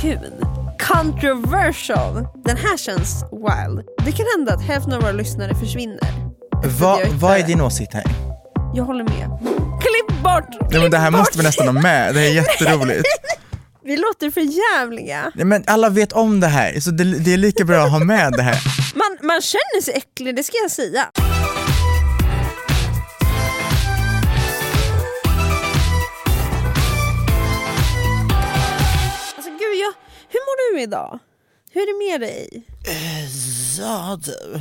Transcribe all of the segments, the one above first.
Kul. Controversial. Den här känns wild. Det kan hända att hälften av våra lyssnare försvinner. Va, vad är din åsikt här? Jag håller med. Klipp bort! Klipp Nej, men det här bort. måste vi nästan ha med, det här är jätteroligt. Vi låter för jävliga. Nej, men alla vet om det här, så det, det är lika bra att ha med det här. Man, man känner sig äcklig, det ska jag säga. Alltså gud, jag, hur mår du idag? Hur är det med dig? Ja du.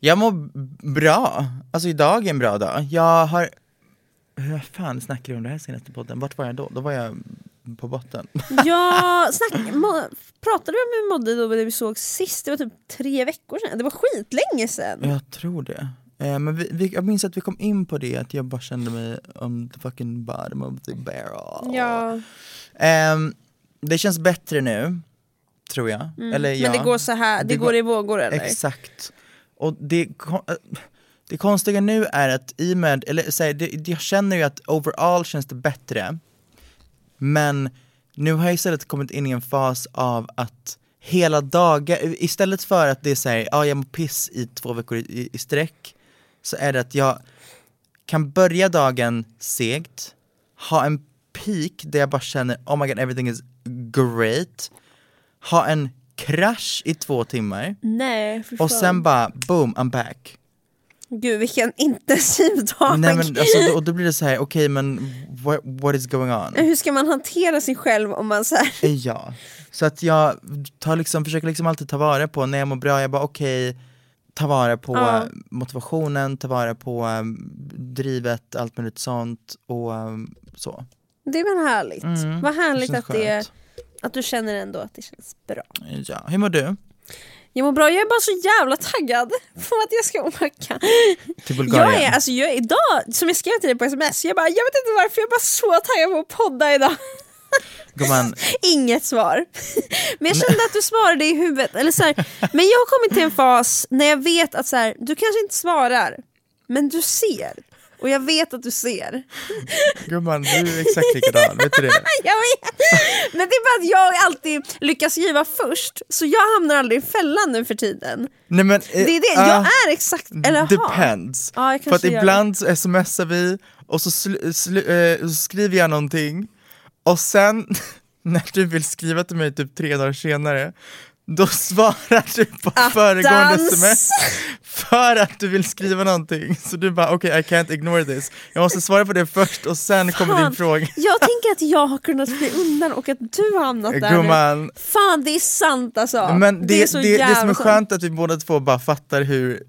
Jag mår b- bra. Alltså idag är en bra dag. Jag har... Hur fan snackade vi om det här senaste podden? Vart var jag då? Då var jag på botten. Ja, snack, må, pratade du om hur mådde då när vi såg sist? Det var typ tre veckor sedan. Det var skitlänge sedan. Jag tror det. Eh, men vi, vi, jag minns att vi kom in på det, att jag bara kände mig on the fucking bottom of the barrel. Ja, Ehm, det känns bättre nu, tror jag. Eller ja. Mm. men det går så här, det, Det går, går- i vågor eller? Exakt. Och det, kon- äh, det konstiga nu är att i och med, eller så här, det, det- jag känner ju att overall känns det bättre. Men nu har jag istället kommit in i en fas av att hela dagar, istället för att det är såhär, ja jag mår piss i två veckor i, i, i sträck, så är det att jag kan börja dagen segt, ha en peak där jag bara känner oh my god everything is great, ha en krasch i två timmar, Nej, för och fan. sen bara boom, I'm back. Gud vilken intensiv dag! Nej, men, alltså, då, och då blir det så här, okej men what, what is going on? Hur ska man hantera sig själv om man så här... Eh, Ja. Så att jag tar liksom, försöker liksom alltid ta vara på, när jag mår bra, jag bara okej, ta vara på Ja. motivationen, ta vara på um, drivet, allt möjligt sånt och um, så. Det är väl härligt? Mm, Vad det härligt känns att, det, skönt. att du känner ändå att det känns bra. Ja. Hur mår du? Jag mår bra, jag är bara så jävla taggad på att jag ska åka. Till Bulgarien? Jag är, alltså jag är idag, som jag skrev till dig på sms, jag bara jag vet inte varför, jag är bara så taggad på att podda idag. Gumman, Inget svar. Men jag kände att du svarade i huvudet. Eller så här, men jag har kommit till en fas när jag vet att så här, du kanske inte svarar, men du ser. Och jag vet att du ser. gumman, du är exakt likadan, vet du det? Jag vet! Men det är bara att jag alltid lyckas skriva först, så jag hamnar aldrig i fällan nu för tiden. Nej, men, eh, Det är det, jag ah. är exakt, eller har. Depends. Ja, jag För att kanske gör ibland så smsar vi och så, sl- sl- eh, så skriver jag någonting och sen när du vill skriva till mig typ tre dagar senare då svarar du på föregående dans. sms för att du vill skriva någonting. Så du bara okej I can't ignore this. Jag måste svara på det först och sen kommer Fan, din fråga. Jag tänker att jag har kunnat fly undan och att du har hamnat där nu. Gumman, Fan det är sant alltså! men det, är det, så det, som jävla är sant. skönt är att vi båda två bara fattar hur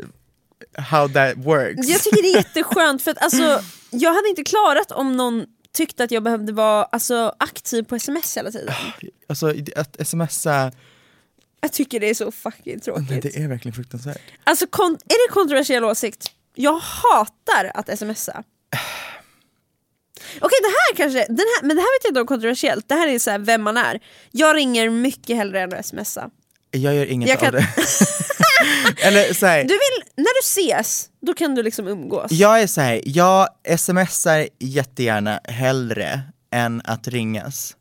how that works. Jag tycker det är jätteskönt för att alltså, jag hade inte klarat om någon tyckte att jag behövde vara alltså, aktiv på sms hela tiden. Alltså att smsa Jag tycker det är så fucking Nej, tråkigt. det är verkligen fruktansvärt. Alltså kon- är det kontroversiell åsikt? Jag hatar att smsa. Okej det här kanske, den här, men det här vet jag inte om kontroversiellt, det här är så här vem man är. Jag ringer mycket hellre än att smsa. Jag gör inget Jag av kan- det. Eller så här, Du vill, när du ses, då kan du liksom umgås. jag är så här, jag smsar jättegärna hellre än att ringas.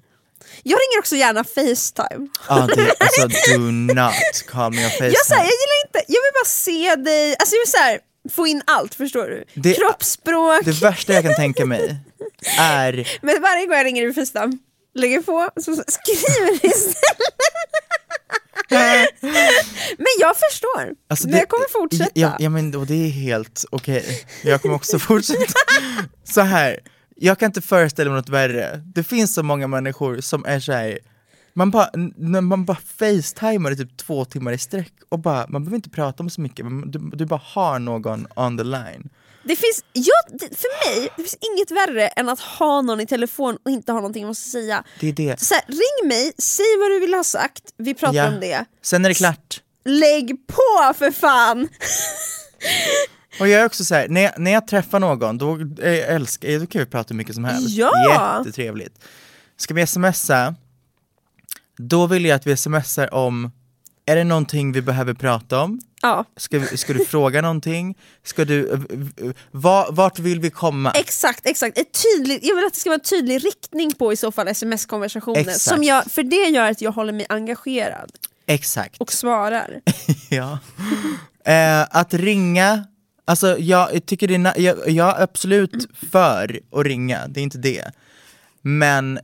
Jag ringer också gärna Facetime. Ah, det, alltså do not call me on Facetime. Jag, så här, jag gillar inte, jag vill bara se dig, alltså jag vill så här, få in allt förstår du. Det- Kroppsspråk, Det värsta jag kan tänka mig är men varje gång jag ringer i Facetime, lägger på, så skriver istället. men jag förstår, Alltså men det- jag kommer fortsätta. Ja, ja men och det är helt okej. Jag kommer också fortsätta. så här, jag kan inte föreställa mig något värre. Det finns så många människor som är så här, man bara, n- när man bara facetimar i typ två timmar i sträck och bara, man behöver inte prata om så mycket, men du, du bara har någon on the line. Det finns, jag, det- för mig, det finns inget värre än att ha någon i telefon och inte ha någonting jag måste säga. Det är det. Så här, ring mig, säg vad du vill ha sagt, vi pratar Ja. om det. Sen är det klart. Lägg på för fan! Och jag är också så här, när jag, när jag träffar någon, då, eh, älskar, eh, då kan vi prata hur mycket som helst. Ja! Jättetrevligt. Ska vi smsa, då vill jag att vi smsar om, är det någonting vi behöver prata om? Ja, Ska, vi- ska du fråga någonting? Ska du, eh, v- va, vart vill vi komma? exakt, exakt. Ett tydligt, jag vill att det ska vara en tydlig riktning på i så fall sms-konversationen. Exakt. Som jag, för det gör att jag håller mig engagerad Exakt. och svarar. Ja. Eh, att ringa, alltså jag tycker det är, na- jag, jag är absolut för att ringa, det är inte det. Men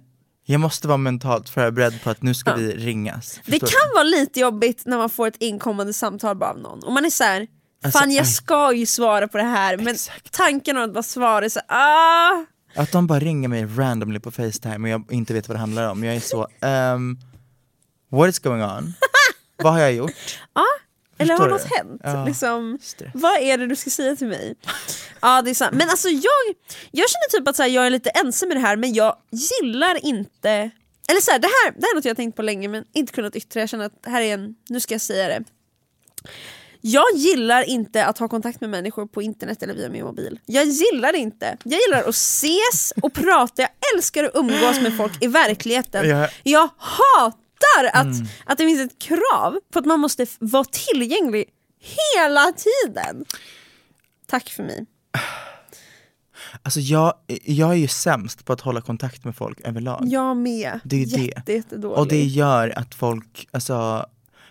jag måste vara mentalt förberedd på att nu ska vi ringas. Det Förstår kan vara lite jobbigt när man får ett inkommande samtal bara av någon och man är så här. Alltså, Fan jag aj. ska ju svara på det här men Exakt. tanken om att bara svara är så här, ah, du? Att de bara ringer mig randomly på Facetime och jag inte vet vad det handlar om. Jag är så, ehm, what is going on? vad har jag gjort? Eller har Förstår något du? hänt? Ja, liksom, stress. vad är det du ska säga till mig? ja, det är sant. Men alltså jag, jag känner typ att så här, jag är lite ensam med det här men jag gillar inte... Eller så här, det, här, det här är något jag har tänkt på länge men inte kunnat yttra. Jag känner att det här är en, nu ska jag säga det. Jag gillar inte att ha kontakt med människor på internet eller via min mobil. Jag gillar det inte. Jag gillar att ses och prata, jag älskar att umgås med folk i verkligheten. Jag- Jag hatar att, Mm. att det finns ett krav på att man måste f- vara tillgänglig hela tiden. Tack för mig. Alltså jag, jag är ju sämst på att hålla kontakt med folk överlag. Jag med. Det är det. Jätte, jättedålig. Och det gör att folk, alltså,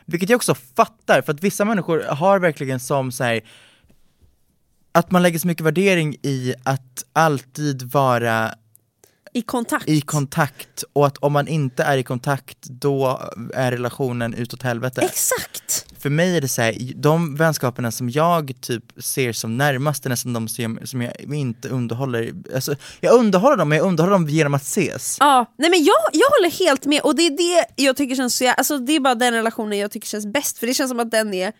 vilket jag också fattar, för att vissa människor har verkligen som så här att man lägger så mycket värdering i att alltid vara I kontakt. i kontakt och att om man inte är i kontakt då är relationen utåt helvete. Exakt! För mig är det så här, de vänskaperna som jag typ ser som närmast är nästan de som jag, som jag inte underhåller, alltså jag underhåller dem men jag underhåller dem genom att ses. Ja, nej men jag, jag håller helt med och det är det jag tycker känns så jä- alltså det är bara den relationen jag tycker känns bäst för det känns som att den är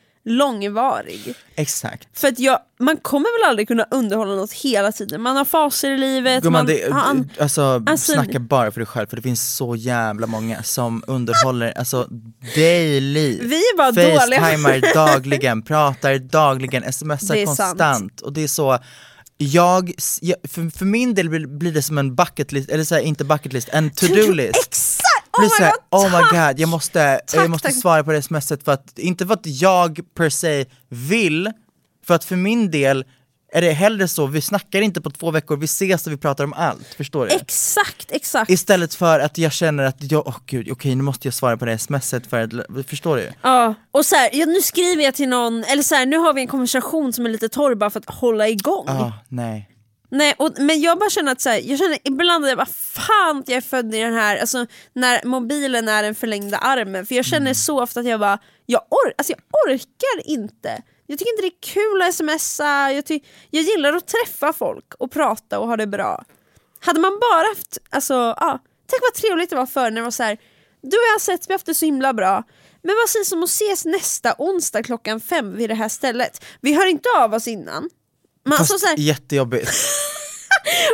långvarig. Exakt. För att jag, man kommer väl aldrig kunna underhålla något hela tiden, man har faser i livet, Gumman, man, det, har an- alltså, alltså- snacka bara för dig själv för det finns så jävla många som underhåller, alltså daily. Vi är bara dåliga. Facetimar dagligen, pratar dagligen, smsar Det är sant. konstant. Och det är så, jag, jag för, för min del blir, blir det som en bucket list, eller så här, inte bucket list, en to-do list. Exakt! Oh my Blir så här, god, oh my tack! god, jag måste, Tack, jag måste tack. svara på det smset för att, inte för att jag per se vill, för att för min del är det hellre så, vi snackar inte på två veckor, vi ses och vi pratar om allt, förstår du? Exakt, exakt. Istället för att jag känner att jag, åh gud, okej nu måste jag svara på det smset för att, förstår du? Ja, och så här, ja, nu skriver jag till någon, eller så här, nu har vi en konversation som är lite torr bara för att hålla igång. Ah, nej. Nej, och, men jag bara känner att så här, jag känner ibland att jag bara fan att jag är född i den här, alltså när mobilen är den förlängda armen. För jag känner så ofta att jag bara, jag, or- alltså, jag orkar inte. Jag tycker inte det är kul att smsa, jag, ty- jag gillar att träffa folk och prata och ha det bra. Hade man bara haft, alltså ja, tänk vad trevligt det var förr när det var så här, du och jag har sett, vi har haft det så himla bra. Men vad sägs om att ses nästa onsdag klockan fem vid det här stället? Vi hör inte av oss innan. Man, Fast alltså, så här, jättejobbigt.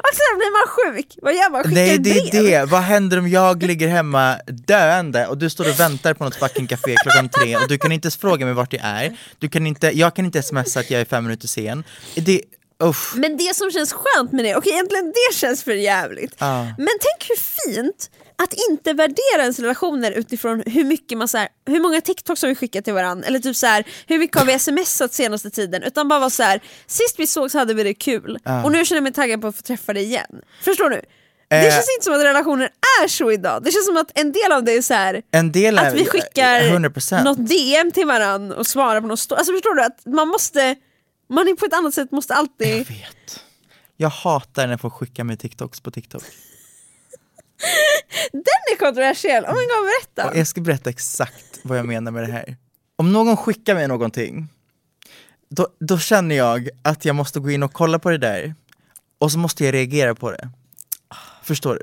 och sen blir Alltså, man sjuk, vad gör man? Skickar Nej det brev? är det, vad händer om jag ligger hemma döende och du står och väntar på något fucking café klockan tre och du kan inte ens fråga mig vart jag är, du kan inte, jag kan inte smsa att jag är fem minuter sen. Det, Uff. Men det som känns skönt med det, okej egentligen det känns för jävligt. Ja. Men tänk hur fint att inte värdera ens relationer utifrån hur mycket man så här, hur många TikToks har vi skickat till varandra eller typ så här, hur mycket har vi smsat senaste tiden utan bara vara så här, sist vi sågs hade vi det kul och nu känner jag mig taggad på att få träffa dig igen. Förstår du? Det Eh. känns inte som att relationer är så idag, det känns som att en del av det är så här En del är att vi skickar 100%. något DM till varandra och svarar på något stort. Alltså förstår du att man måste, man är på ett annat sätt måste alltid... Jag vet. Jag hatar när folk skickar mig TikToks på TikTok. Den är kontroversiell, oh my god berätta! Och jag ska berätta exakt vad jag menar med det här. Om någon skickar mig någonting, då, då känner jag att jag måste gå in och kolla på det där, och så måste jag reagera på det. Förstår du?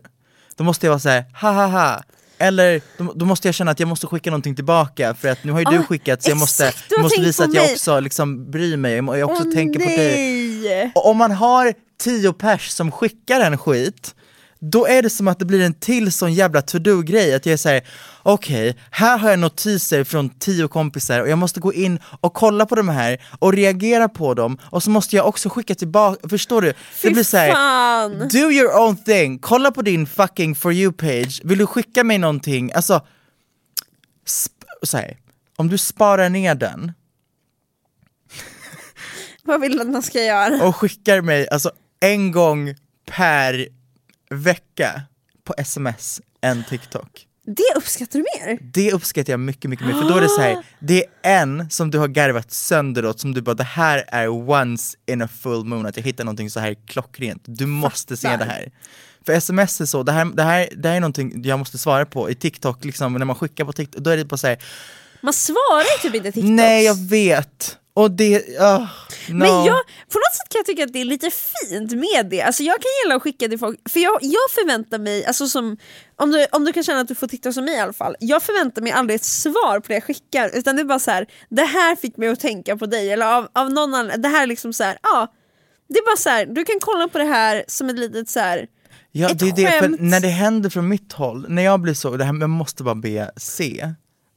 Då måste jag vara såhär, ha ha ha, eller då, då måste jag känna att jag måste skicka någonting tillbaka för att nu har ju du Ah, skickat så jag måste, exakt, du har måste tänkt visa på att jag mig. också liksom bryr mig, jag, må- jag också Åh, tänker på dig. nej! Och om man har tio pers som skickar en skit, då är det som att det blir en till sån jävla to-do-grej. Att jag är såhär, okej, här har jag notiser från tio kompisar och jag måste gå in och kolla på de här och reagera på dem och så måste jag också skicka tillbaka, förstår du? Fy det blir såhär, fan! do your own thing, kolla på din fucking for you-page, vill du skicka mig någonting? Alltså, sp- så här, om du sparar ner den Vad vill du att man ska göra? och skickar mig alltså en gång per vecka på sms en TikTok. Det uppskattar du mer? Det uppskattar jag mycket, mycket mer, för då är det så här, det är en som du har garvat sönder åt, som du bara det här är once in a full moon, att jag hittar någonting så här klockrent, du måste se det här. För sms är så, det här, det här, det här är någonting jag måste svara på i TikTok, liksom, när man skickar på TikTok, då är det bara så här, Man svarar ju typ inte TikToks. nej jag vet, och det, ah, no. Men jag, på något sätt kan jag tycka att det är lite fint med det. Alltså jag kan gilla att skicka till folk, för jag, jag förväntar mig, alltså som, om, du, om du kan känna att du får titta som mig i alla fall, jag förväntar mig aldrig ett svar på det jag skickar utan det är bara så här: det här fick mig att tänka på dig eller av, av någon annan, det här är liksom så här, ja. Det är bara så här, du kan kolla på det här som ett litet så här. Ja, Ett det är det, skämt. för när det händer från mitt håll, när jag blir så, det här jag måste bara be se,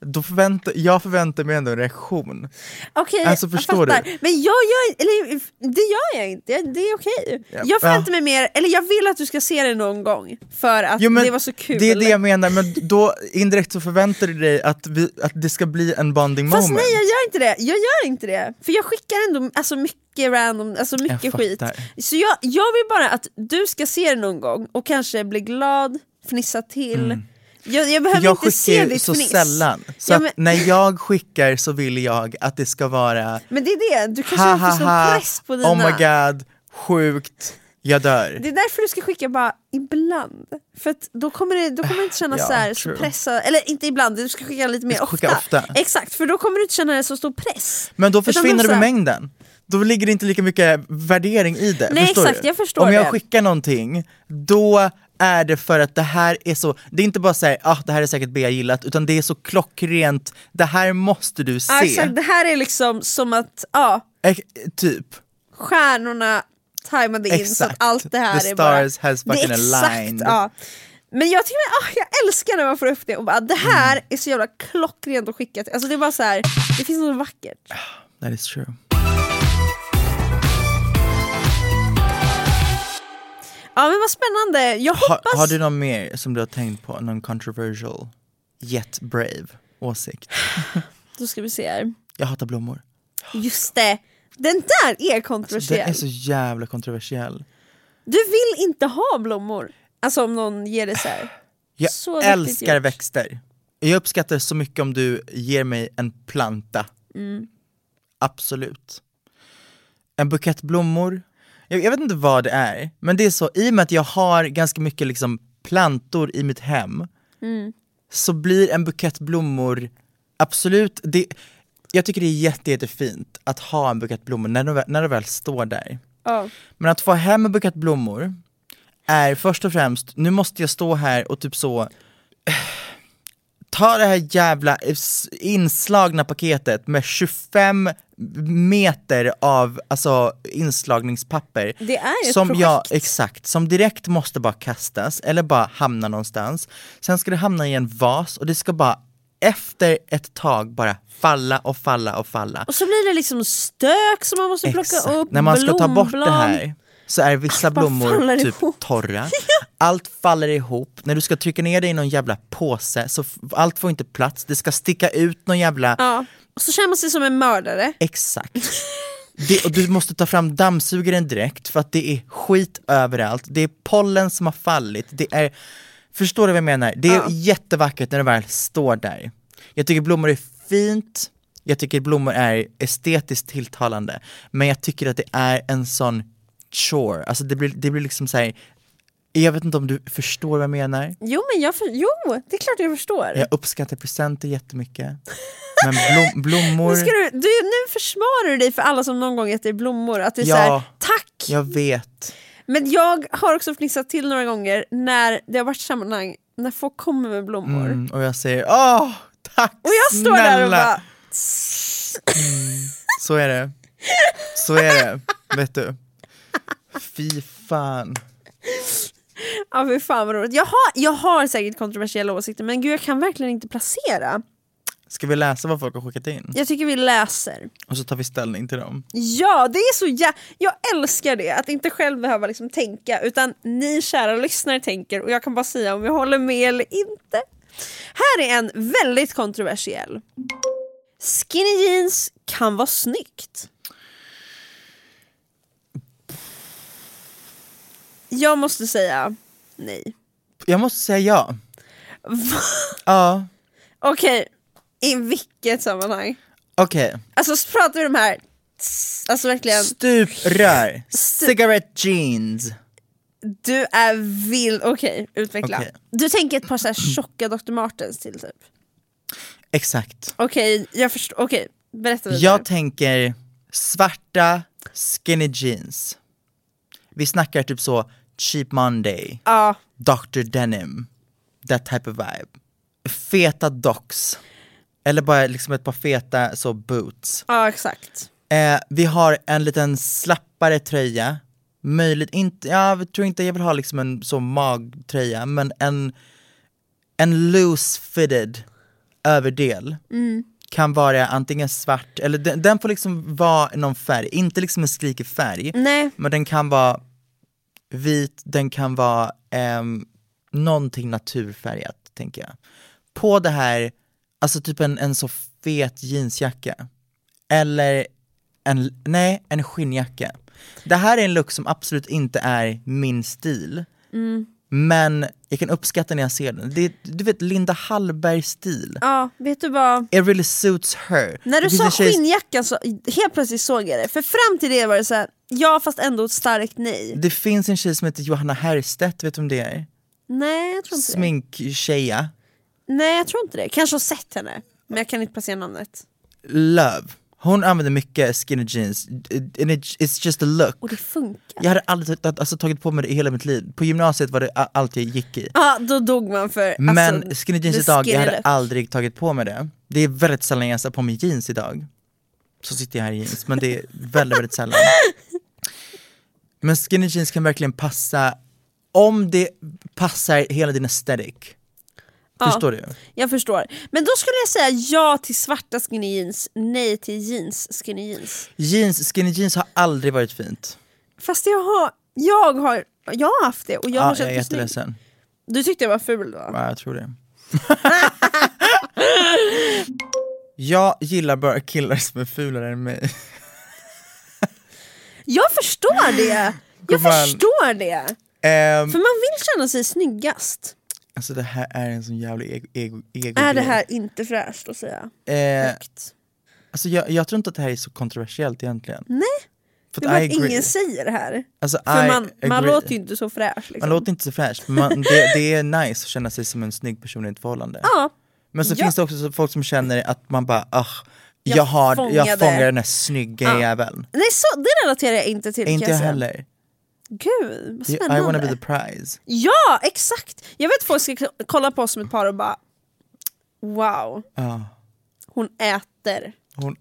då förväntar, jag förväntar mig ändå en reaktion. Okej, Alltså, förstår jag du? fattar. Men jag gör, eller, det gör jag inte, det är okej. Jag förväntar mig mer, eller jag vill att du ska se det någon gång för att Jo, men det var så kul. Det är det jag menar, men då indirekt så förväntar du dig att, vi, att det ska bli en bonding Fast moment. nej jag gör inte det, jag gör inte det. För jag skickar ändå alltså, mycket random, alltså mycket skit. fattar. Så jag, jag vill bara att du ska se det någon gång och kanske bli glad, fnissa till. Jag, jag behöver Mm. jag inte se skickar ditt så fniss. sällan, så Ja, men, att när jag skickar så vill jag att det ska vara men det är det, du kanske ha inte ha får ha, sån press på dina... oh my god, sjukt, jag dör. Det är därför du ska skicka bara ibland. För att då kommer det, då kommer det inte kännas Ja, så, här, så true. pressad, eller inte ibland, du ska skicka lite mer ska skicka ofta. Exakt, för då kommer du inte känna en så stor press. Men då Utan försvinner så du här- med mängden. Då ligger det inte lika mycket värdering i det. Nej, förstår exakt, du? jag förstår Om jag det. skickar någonting, då är det för att det här är så, det är inte bara såhär, ah det här är säkert B jag gillat, utan det är så klockrent, det här måste du se. Ja, exakt, det här är liksom som att, ja. Ex- typ. stjärnorna tajmade in så att Exakt. allt det här The är bara... stars has det är fucking exakt, aligned. Ja. Men jag, tycker, ah, jag älskar när man får upp det och bara det här Mm. är så jävla klockrent att skicka till. Alltså det är bara så här, det finns något vackert. That is true. Ja men vad spännande, jag Har, hoppas... har du någon mer som du har tänkt på, någon controversial, yet brave åsikt? Då ska vi se här. Jag hatar blommor. Just det, den där är Den kontroversiell. är så jävla kontroversiell. Du vill inte ha blommor. Alltså om någon ger det så här. Jag Så riktigt älskar gjort. växter. Jag uppskattar så mycket om du ger mig en planta. Mm. Absolut. En bukett blommor. Jag, jag vet inte vad det är, men det är så, i och med att jag har ganska mycket liksom plantor i mitt hem, Mm. så blir en bukett blommor absolut, det, jag tycker det är jätte, jättefint att ha en bukett blommor när de, väl- när de väl står där. Ja. Men att få hem en bukett blommor är först och främst, nu måste jag stå här och typ så Ta det här jävla s- inslagna paketet med 25 meter av alltså, inslagningspapper. Det är ett som Jag, projekt. exakt, som direkt måste bara kastas eller bara hamna någonstans. Sen ska det hamna i en vas och det ska bara efter ett tag bara falla och falla och falla. Och så blir det liksom stök som man måste plocka upp, När man ska ta bort det blomblad. här så är vissa Vad blommor faller typ ihop? torra. Allt faller ihop. När du ska trycka ner det i någon jävla påse så f- allt får inte plats. Det ska sticka ut någon jävla... Ja. Och så känner man sig som en mördare. Exakt. Det, och du måste ta fram dammsugaren direkt för att det är skit överallt. Det är pollen som har fallit. Det är, förstår du vad jag menar? Det är jättevackert när det väl står där. Jag tycker blommor är fint, jag tycker blommor är estetiskt tilltalande. Men jag tycker att det är en sån chore. Alltså det blir, det blir liksom så här. jag vet inte om du förstår vad jag menar? Jo, men jag för... jo, det är klart jag förstår. Jag uppskattar presenter jättemycket. Men blom, blommor... Nu, ska du, du, nu försvarar du dig för alla som någon gång gett dig blommor. Att det är Ja. såhär, tack! Jag vet. Men jag har också fnissat till några gånger när det har varit sammanhang när folk kommer med blommor. Mm, och jag säger åh, tack Och jag står snälla. där och bara, Så är det. Så är det, vet du. Fy fan. ja fy fan vad roligt. Jag har, jag har säkert kontroversiella åsikter men gud jag kan verkligen inte placera. Ska vi läsa vad folk har skickat in? Jag tycker vi läser. Och så tar vi ställning till dem. Ja, det är så jä- Jag älskar det, att inte själv behöva liksom tänka utan ni kära lyssnare tänker och jag kan bara säga om jag håller med eller inte. Här är en väldigt kontroversiell. Skinny jeans kan vara snyggt. Jag måste säga nej. Jag måste säga ja. Ja, Okej, i vilket sammanhang? okej. Alltså så pratar vi de här, tss, alltså verkligen, Stuprör. Cigarette jeans. du är vild, okej utveckla. Okej. Du tänker ett par så här tjocka Dr. Martens till typ. Exakt. Okej, jag förstår, okej berätta vidare. Jag tänker svarta skinny jeans. Vi snackar typ så cheap monday. ja, Dr. Denim, that type of vibe. Feta docks, eller bara liksom ett par feta så boots. ja exakt. Eh, vi har en liten slappare tröja, möjligt inte, ja, jag tror inte jag vill ha liksom en så magtröja, men en, en loose fitted överdel. Kan vara antingen svart, eller den, den får liksom vara någon färg, inte liksom en skrikig färg. Nej, Men den kan vara vit, den kan vara um, någonting naturfärgat, tänker jag. På det här, alltså typ en, en så fet jeansjacka. Eller en, nej, en skinnjacka. Det här är en look som absolut inte är min stil. Mm. Men jag kan uppskatta när jag ser den. Det är, du vet, Linda Hallberg-stil. ja vet du vad? It really suits her. När Det du finns sa en tjej- skinnjackan så helt plötsligt såg jag det, för fram till det var det så här, ja fast ändå ett starkt nej. Det finns en tjej som heter Johanna Herrstedt, vet du vem det är? Nej jag tror inte det. Sminktjeja. Nej jag tror inte det, kanske har sett henne men jag kan inte placera namnet. Love. Hon använder mycket skinny jeans, and it, it's just a look. Och det funkar. Jag hade aldrig tagit- alltså, tagit på mig det i hela mitt liv. På gymnasiet var det a- allt jag gick i. Ja då dog man för alltså, Men skinny jeans the idag, jag skinny hade look. aldrig tagit på mig det. Det är väldigt sällan jag sätter på mig jeans idag. Så sitter jag här i jeans, men det är väldigt, väldigt sällan. Men skinny jeans kan verkligen passa, om det passar hela din aesthetic. Förstår du? Jag förstår. Men då skulle jag säga ja till svarta skinny jeans, nej till jeans skinny jeans. Jeans, skinny jeans har aldrig varit fint. Fast jag har, jag har, jag har haft det och jag har Ja, känt jag är mig snygg. jätteledsen. Du tyckte jag var ful då? Ja, jag tror det. jag gillar bara killar som är fulare än mig. Jag förstår det! Jag Gumman. förstår det! Ehm, För man vill känna sig snyggast. alltså det här är en sån jävla ego, ego, ego Är det här inte fräscht att säga? Mm. Eh, Högt. alltså jag, jag tror inte att det här är så kontroversiellt egentligen. Nej, För det är att bara I att agree. ingen säger det här. Alltså, För I man, man agree. låter ju inte så fräsch. Man Liksom. låter inte så fräsch, men man, det, det är nice att känna sig som en snygg person i ett förhållande. Ja, Men så Ja. finns det också så folk som känner att man bara, ah, jag, Jag har, jag fångade." fångar den här snygga jäveln. nej så, det relaterar jag inte till. Inte kan jag säga. heller. Gud, vad I wanna spännande. be the prize. Ja, exakt! Jag vet folk ska k- kolla på oss som ett par och bara Wow, Ja. hon äter. Hon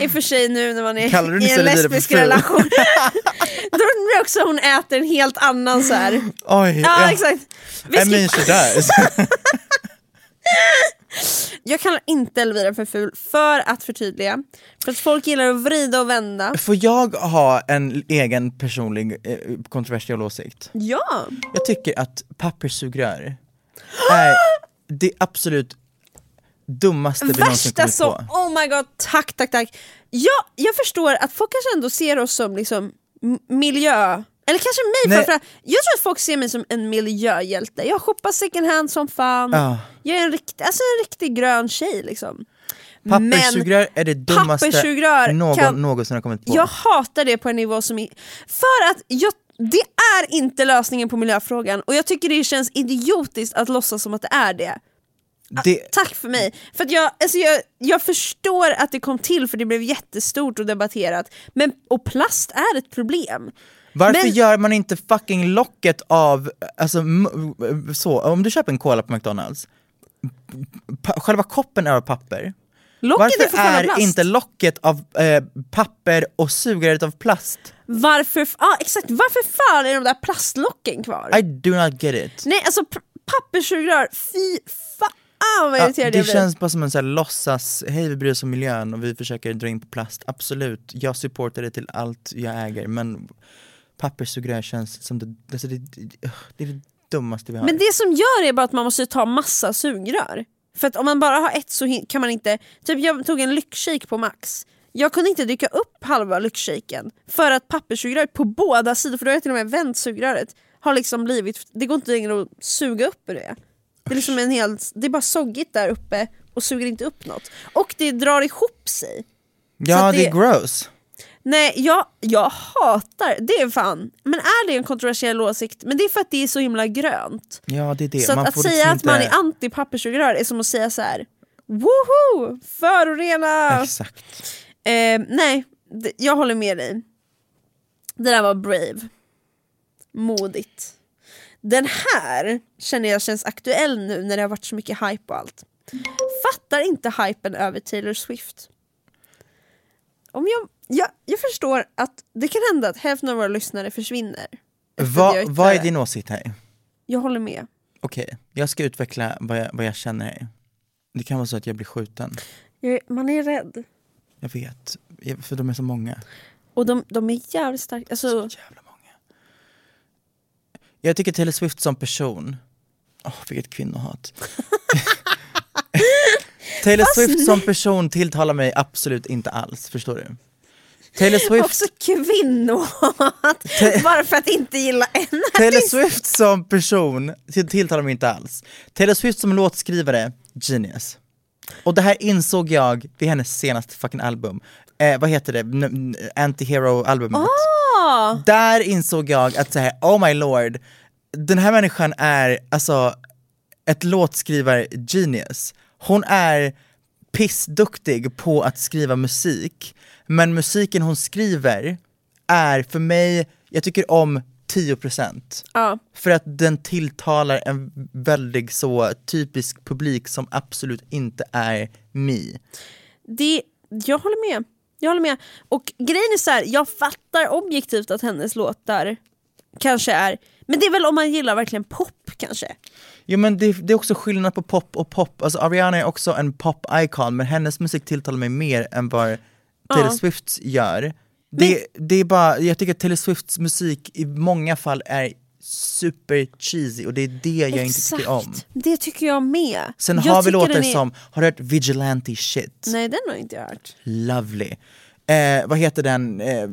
I och för sig nu när man Kallar du är i Nisse en Lidere för lesbisk ful? relation. Då undrar jag också hon äter en helt annan så här. Oj, Ja exakt. Vi I mean skippar- she does. Jag kallar inte Elvira för ful för att förtydliga. För att folk gillar att vrida och vända. Får jag ha en egen personlig eh, kontroversiell åsikt? Ja! Jag tycker att papperssugrör är det absolut dummaste vi någonsin Värsta kommit som, på. oh my god, tack tack tack. Ja, jag förstår att folk kanske ändå ser oss som liksom m- miljö, eller kanske mig Nej. framförallt. Jag tror att folk ser mig som en miljöhjälte. Jag shoppar second hand som fan. Ja. Jag är en riktig, alltså en riktig grön tjej liksom. Papperssugrör är det dummaste papperssugrör någon kan- någonsin har kommit på. Jag hatar det på en nivå som... i- För att jag, det är inte lösningen på miljöfrågan och jag tycker det känns idiotiskt att låtsas som att det är det. det, Tack för mig! För att jag, alltså jag, jag förstår att det kom till för det blev jättestort och debatterat, men, och plast är ett problem. varför men- gör man inte fucking locket av, alltså m- så, om du köper en cola på McDonalds, pa- själva koppen är av papper. Locket är Varför fortfarande är plast. inte locket av eh, papper och sugröret av plast? Varför, f- ah, exakt, varför fan är de där plastlocken kvar? I do not get it. Nej alltså p- papperssugrör, fy fan vad irriterad Ah, det jag blir. känns bara som en sån här låtsas, hej vi bryr oss om miljön och vi försöker dra in på plast. Absolut, jag supportar det till allt jag äger men papperssugrör känns som det, alltså det, det, det är det dummaste vi har. Men det som gör är bara att man måste ta massa sugrör. För att om man bara har ett så hin- kan man inte... Typ jag tog en lyxshake på Max. Jag kunde inte dricka upp halva lyxshaken för att papperssugröret på båda sidor, för då har jag till och med vänt sugröret, har liksom blivit... Det går inte längre att suga upp ur det. Det är, liksom en hel, det är bara soggigt där uppe och suger inte upp något. Och det drar ihop sig. så ja att det, det- är gross. Nej, jag, jag hatar... Det är fan... Men är det en kontroversiell åsikt? Men det är för att det är så himla grönt. Ja det är det. Så att, Man att får säga liksom att man är inte- anti papperssugrör är som att säga så här: Woho! Förorena! Exakt. Eh, nej, d- jag håller med dig. Det där var brave. Modigt. Den här känner jag känns aktuell nu när det har varit så mycket hype och allt. Fattar inte hypen över Taylor Swift. Om jag, jag, jag förstår att det kan hända att hälften av våra lyssnare försvinner. efter att Va, jag yttrar vad är det. din åsikt här? Jag håller med. Okej, jag ska utveckla vad jag, vad jag känner här. Det kan vara så att jag blir skjuten. Jag, är- man är rädd. Jag vet, Jag- för de är så många. Och de, de är jävligt starka. Alltså, jävla många. Jag tycker Taylor Swift som person, åh vilket kvinnohat. Taylor Swift som person tilltalar mig absolut inte alls, förstår du? Taylor Swift, också kvinnohat. Bara för att inte gilla en Taylor artist. Swift som person till- tilltalar mig inte alls. Taylor Swift som låtskrivare, genius. Och det här insåg jag vid hennes senaste fucking album. Eh, vad heter det? N- n- Anti-hero-albumet. Ah, Där insåg jag att så här, oh my lord, den här människan är alltså ett låtskrivar-genius. Hon är pissduktig på att skriva musik, men musiken hon skriver är för mig, jag tycker om 10%. Ja. För att den tilltalar en väldigt så typisk publik som absolut inte är me. det, jag håller med. Jag håller med. Och grejen är så här, jag fattar objektivt att hennes låtar kanske är... Men det är väl om man gillar verkligen pop kanske? Jo men det, det är också skillnad på pop och pop, alltså Ariana är också en pop-icon men hennes musik tilltalar mig mer än vad Taylor Swifts gör. Det, det är bara, jag tycker att Taylor Swifts musik i många fall är super cheesy och det är det jag inte tycker om. det tycker jag med. Sen jag har vi tycker låtar den är- som, har du hört Vigilante shit? Nej den har jag inte hört. Lovely. Eh, vad heter den? Eh,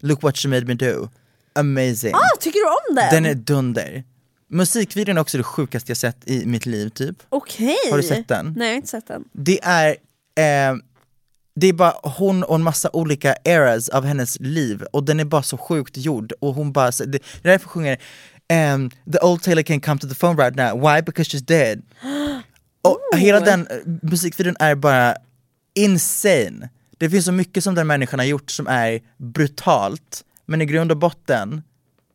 Look what you made me do. Amazing. Ah, tycker du om den? Mm. Den är dunder. Musikvideon är också det sjukaste jag sett i mitt liv typ. Okej. Har du sett den? Nej jag har inte sett den. det är, eh, det är bara hon och en massa olika eras av hennes liv och den är bara så sjukt gjord och hon bara, så- det det är därför hon sjunger ehm, The old Taylor can come to the phone right now, why? Because she's dead. Och hela den eh, musikvideon är bara insane. Det finns så mycket som den människan har gjort som är brutalt, men i grund och botten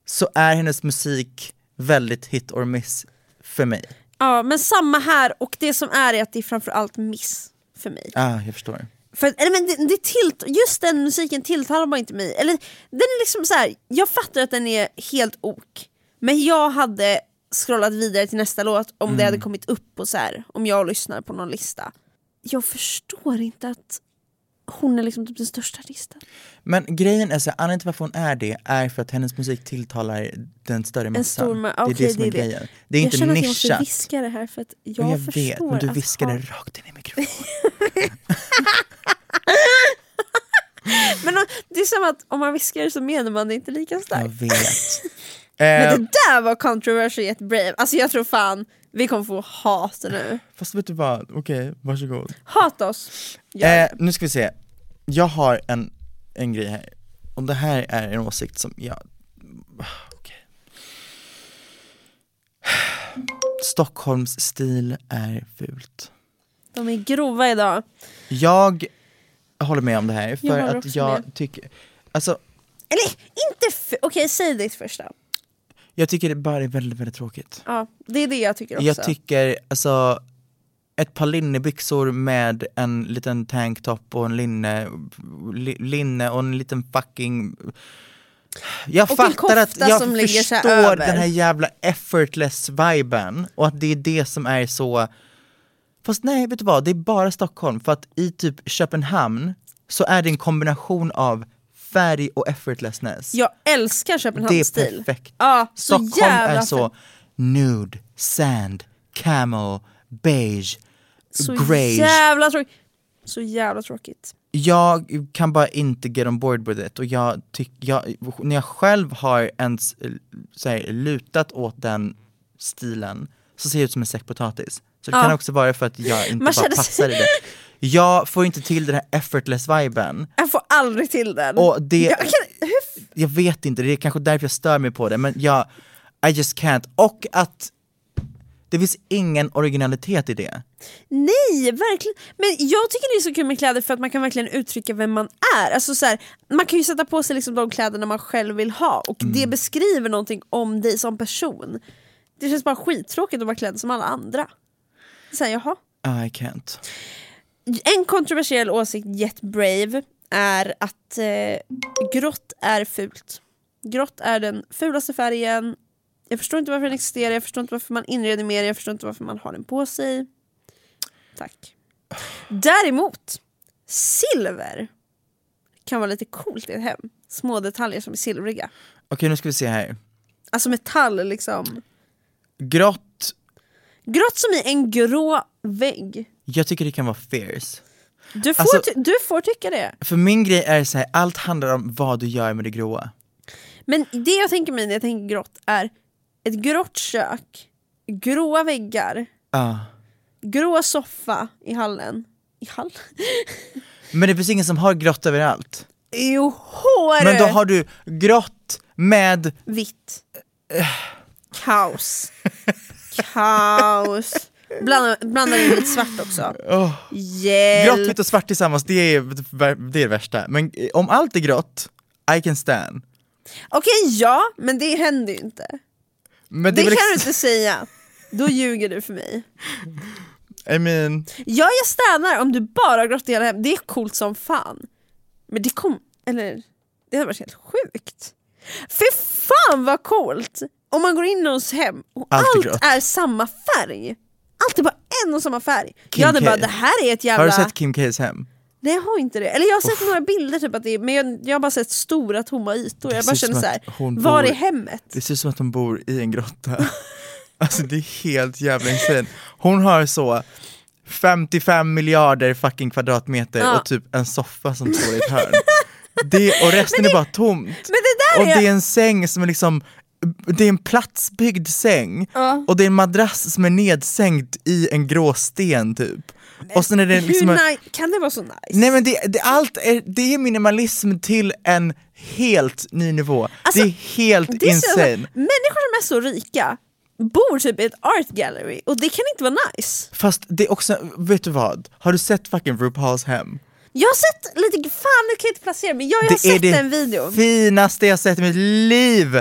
så är hennes musik väldigt hit or miss för mig. Ja men samma här och det som är är att det är framförallt miss för mig. Ah, jag förstår. För, att- eller men det, det tilt, just den musiken tilltalar bara inte mig. Eller, den är liksom så här, jag fattar att den är helt ok, men jag hade scrollat vidare till nästa låt om det hade Mm. kommit upp på så här, om jag lyssnar på någon lista. Jag förstår inte att hon är liksom typ den största artisten. Men grejen är så här, anledningen till varför hon är det är för att hennes musik tilltalar den större massan. stor ma- det är okej, det som är det är det. grejen. Det är jag inte känner att jag måste nischat. viska det här för att jag, Jag, jag förstår vet, men du att viskar det han- rakt in i mikrofonen. Men om- det är som att om man viskar det så menar man det inte lika starkt. jag vet. Men eh, det där var controversial brave. Alltså jag tror fan vi kommer få hat nu. Fast vet du vad, okej, varsågod. Hata oss. Gör Eh, det. nu ska vi se, jag har en, en grej här, och det här är en åsikt som jag... Okej. Stockholms stil är fult. De är grova idag. Jag håller med om det här, Jag för håller att också jag med. tycker... Alltså, Eller inte f- Okej, säg ditt första. jag tycker det bara är väldigt, väldigt tråkigt. Ja, det är det jag tycker också. Jag tycker, alltså, ett par linnebyxor med en liten tanktop och en linne, li, linne och en liten fucking... Jag en fattar kofta att jag som ligger så här förstår över. den här jävla effortless-viben och att det är det som är så... Fast nej, vet du vad? Det är bara Stockholm, för att i typ Köpenhamn så är det en kombination av färg och effortlessness. jag älskar Det Köpenhamns är stil. perfekt. Ja, så Stockholm jävla är så nude, sand, camel, beige, så grey. jävla tråkigt. Så jävla tråkigt. Jag kan bara inte get on board with it och jag tycker, jag, när jag själv har ens eh, så här, lutat åt den stilen så ser jag ut som en säck potatis. Så det kan också vara för att jag inte Man bara känner sig- passar i det. Jag får inte till den här effortless-viben. Jag får aldrig till den. Och det- jag, kan, hur, jag vet inte, det är kanske därför jag stör mig på det, men jag, I just can't. Och att det finns ingen originalitet i det. nej, verkligen. Men jag tycker det är så kul med kläder för att man kan verkligen uttrycka vem man är. Alltså så här, man kan ju sätta på sig liksom de kläderna man själv vill ha och det beskriver någonting om dig som person. Det känns bara skittråkigt att vara klädd som alla andra. Så här, jaha. I can't. En kontroversiell åsikt Get Brave är att eh, grått är fult. Grått är den fulaste färgen. Jag förstår inte varför den existerar, jag förstår inte varför man inreder med det, jag förstår inte varför man har den på sig. Tack. Däremot, silver kan vara lite coolt i ett hem. Små detaljer som är silvriga. Okej, nu ska vi se här. Alltså metall liksom. Grått, Grått som i en grå vägg. jag tycker det kan vara fierce. Du får, Alltså- ty- du får tycka det. För min grej är så här, allt handlar om vad du gör med det gråa. Men det jag tänker mig när jag tänker grått är ett grått kök, gråa väggar, Ja. grå soffa i hallen. I hallen? Men det finns ingen som har grått överallt. Jo, hår! Men då har du grått med, Vitt. Kaos. Kaos. Blanda, blanda in lite svart också. Hjälp! Oh. grått, vitt och svart tillsammans, det är det, är det värsta. Men eh, om allt är grått, I can stand. Okej, ja, men det händer ju inte. Men Det, är väl kan ex- du inte säga. Då ljuger du för mig. I mean... Ja, jag stannar om du bara har grått i hela hem. Det är coolt som fan. Men det kom... Eller, det hade varit helt sjukt. Fy fan vad coolt! Om man går in i någons hem och Allt är allt, grått. är samma färg. Allt är bara en och samma färg. jag hade K. bara, det här är ett jävla... Har du sett Kim Ks hem? Nej jag har inte det. Eller jag har sett några bilder typ att det är, men jag, jag har bara sett stora tomma ytor. Jag ser bara ut känner som så här, att hon var bor- är hemmet? Det ser ut som att hon bor i en grotta. Alltså det är helt jävla insane. Hon har så 55 miljarder fucking kvadratmeter Ja. och typ en soffa som står i ett hörn. Det, och resten är bara tomt. Men det där och är... det är en säng som är liksom, det är en platsbyggd säng. Och det är en madrass som är nedsänkt i en grå sten typ. Och sen är det liksom hur en- ni... Kan det vara så nice? Nej men det, det, allt är, det är minimalism till en helt ny nivå. Alltså, det är helt Det är så- insane. Människor som är så rika bor typ i ett art gallery och det kan inte vara nice. Fast det är också, vet du vad? Har du sett fucking RuPaul's hem? Jag har sett lite, fan nu kan jag inte placera mig, jag, jag har det sett är den videon. finaste jag sett i mitt liv!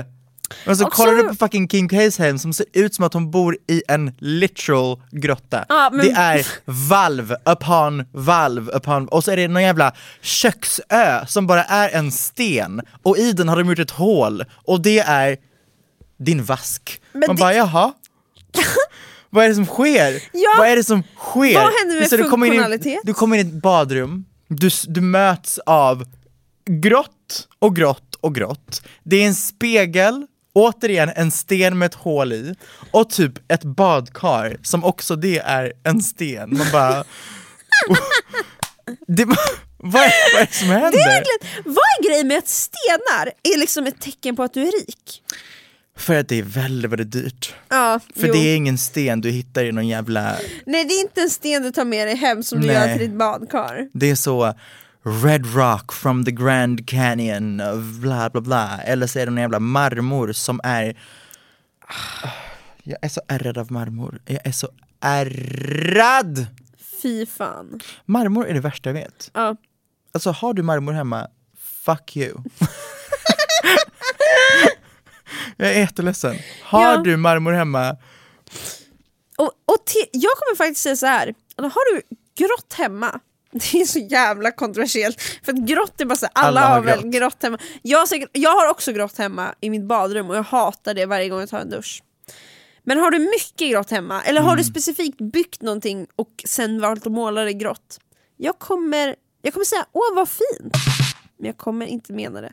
Och så Och kollar så- du på fucking Kim K's hem som ser ut som att hon bor i en literal grotta. Ja, men- Det är valv upon valv upon, och så är det någon jävla köksö som bara är en sten och i den har de gjort ett hål och det är din vask. Men Man det- bara jaha, Vad är det som sker? Ja. Vad är det som sker? Vad händer med Så du kommer in i- funktionalitet? Du kommer in i ett badrum, du, s- du möts av grått och grått och grått. Det är en spegel, återigen en sten med ett hål i, och typ ett badkar som också det är en sten. Man bara... "Oh." det, vad, är, vad är det som händer? Det är verkligen, vad är grejen med att stenar är liksom ett tecken på att du är rik? För att det är väldigt, väldigt dyrt. Ja, För jo. det är ingen sten du hittar i någon jävla... Nej det är inte en sten du tar med dig hem som du Nej. gör till ditt badkar. Det är så Red Rock from the Grand Canyon of bla bla bla. Eller så är det någon jävla marmor som är... Jag är så ärrad av marmor. Jag är så ärrad! Fy fan. Marmor är det värsta jag vet. Ja. Alltså har du marmor hemma, fuck you. jag är jätteledsen. Har Ja. du marmor hemma, Och, och te- jag kommer faktiskt säga så här. har du grått hemma? Det är så jävla kontroversiellt, för att grått är bara så här, alla, Alla har har väl grått. grått, hemma. Jag har, säkert, jag har också grått hemma i mitt badrum och jag hatar det varje gång jag tar en dusch. Men har du mycket grått hemma, eller Mm. har du specifikt byggt någonting och sen valt att måla det grått? Jag kommer, jag kommer säga åh vad fint, men jag kommer inte mena det.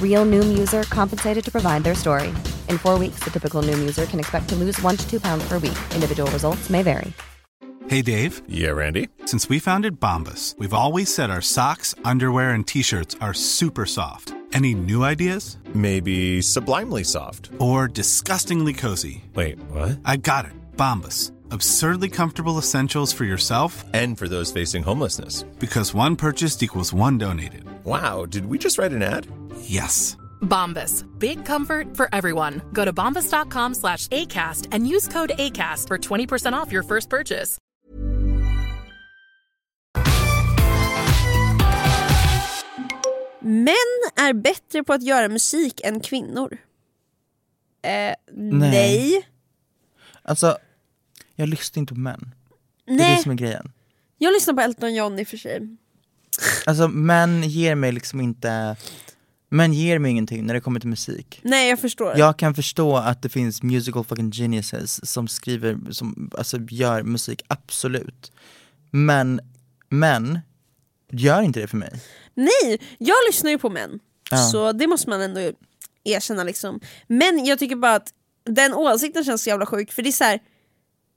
Real Noom user compensated to provide their story. In four weeks, the typical Noom user can expect to lose one to two pounds per week. Individual results may vary. Hey Dave, Yeah, Randy. since we founded Bombus, we've always said our socks, underwear, and t shirts are super soft. Any new ideas? Maybe sublimely soft. Or disgustingly cozy? Wait, what? I got it, Bombus. Absurdly comfortable essentials for yourself And for those facing homelessness. because one purchased equals one donated. Wow, did we just write an ad? Yes. Bombas. Big comfort for everyone. Go to bombas.com slash ACAST and use code ACAST for 20% off your first purchase. Män är bättre på att göra musik än kvinnor. Eh, nej. Nej. Alltså, jag lyssnar inte på män. Det är det som är grejen. Jag lyssnar på Elton John i och för sig. Alltså män ger mig liksom inte, män ger mig ingenting när det kommer till musik. Nej jag förstår. Jag kan förstå att det finns musical fucking geniuses som skriver, som alltså gör musik, absolut. Men, män gör inte det för mig. Nej, jag lyssnar ju på män. Så det måste man ändå erkänna liksom. Men jag tycker bara att den åsikten känns så jävla sjuk för det är så här,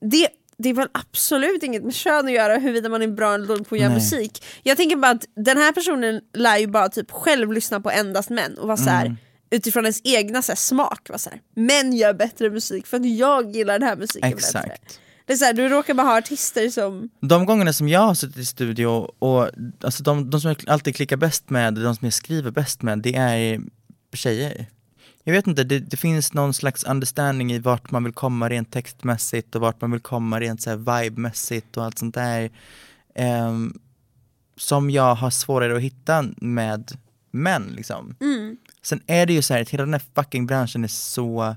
det, det är väl absolut inget med kön att göra huruvida man är bra eller dålig på att göra Nej. musik. Jag tänker bara att den här personen lär ju bara typ själv lyssna på endast män och vara så Mm. här utifrån ens egna så här, smak. Var så här, män gör bättre musik för att jag gillar den här musiken bättre. Exakt. Det är så här, du råkar bara ha artister som... De gångerna som jag har suttit i studio och alltså de, de som jag alltid klickar bäst med, de som jag skriver bäst med, det är tjejer. Jag vet inte, det, det finns någon slags understanding i vart man vill komma rent textmässigt och vart man vill komma rent så här vibemässigt och allt sånt där. ehm, som jag har svårare att hitta med män liksom. Mm. Sen är det ju så här att hela den här fucking branschen är så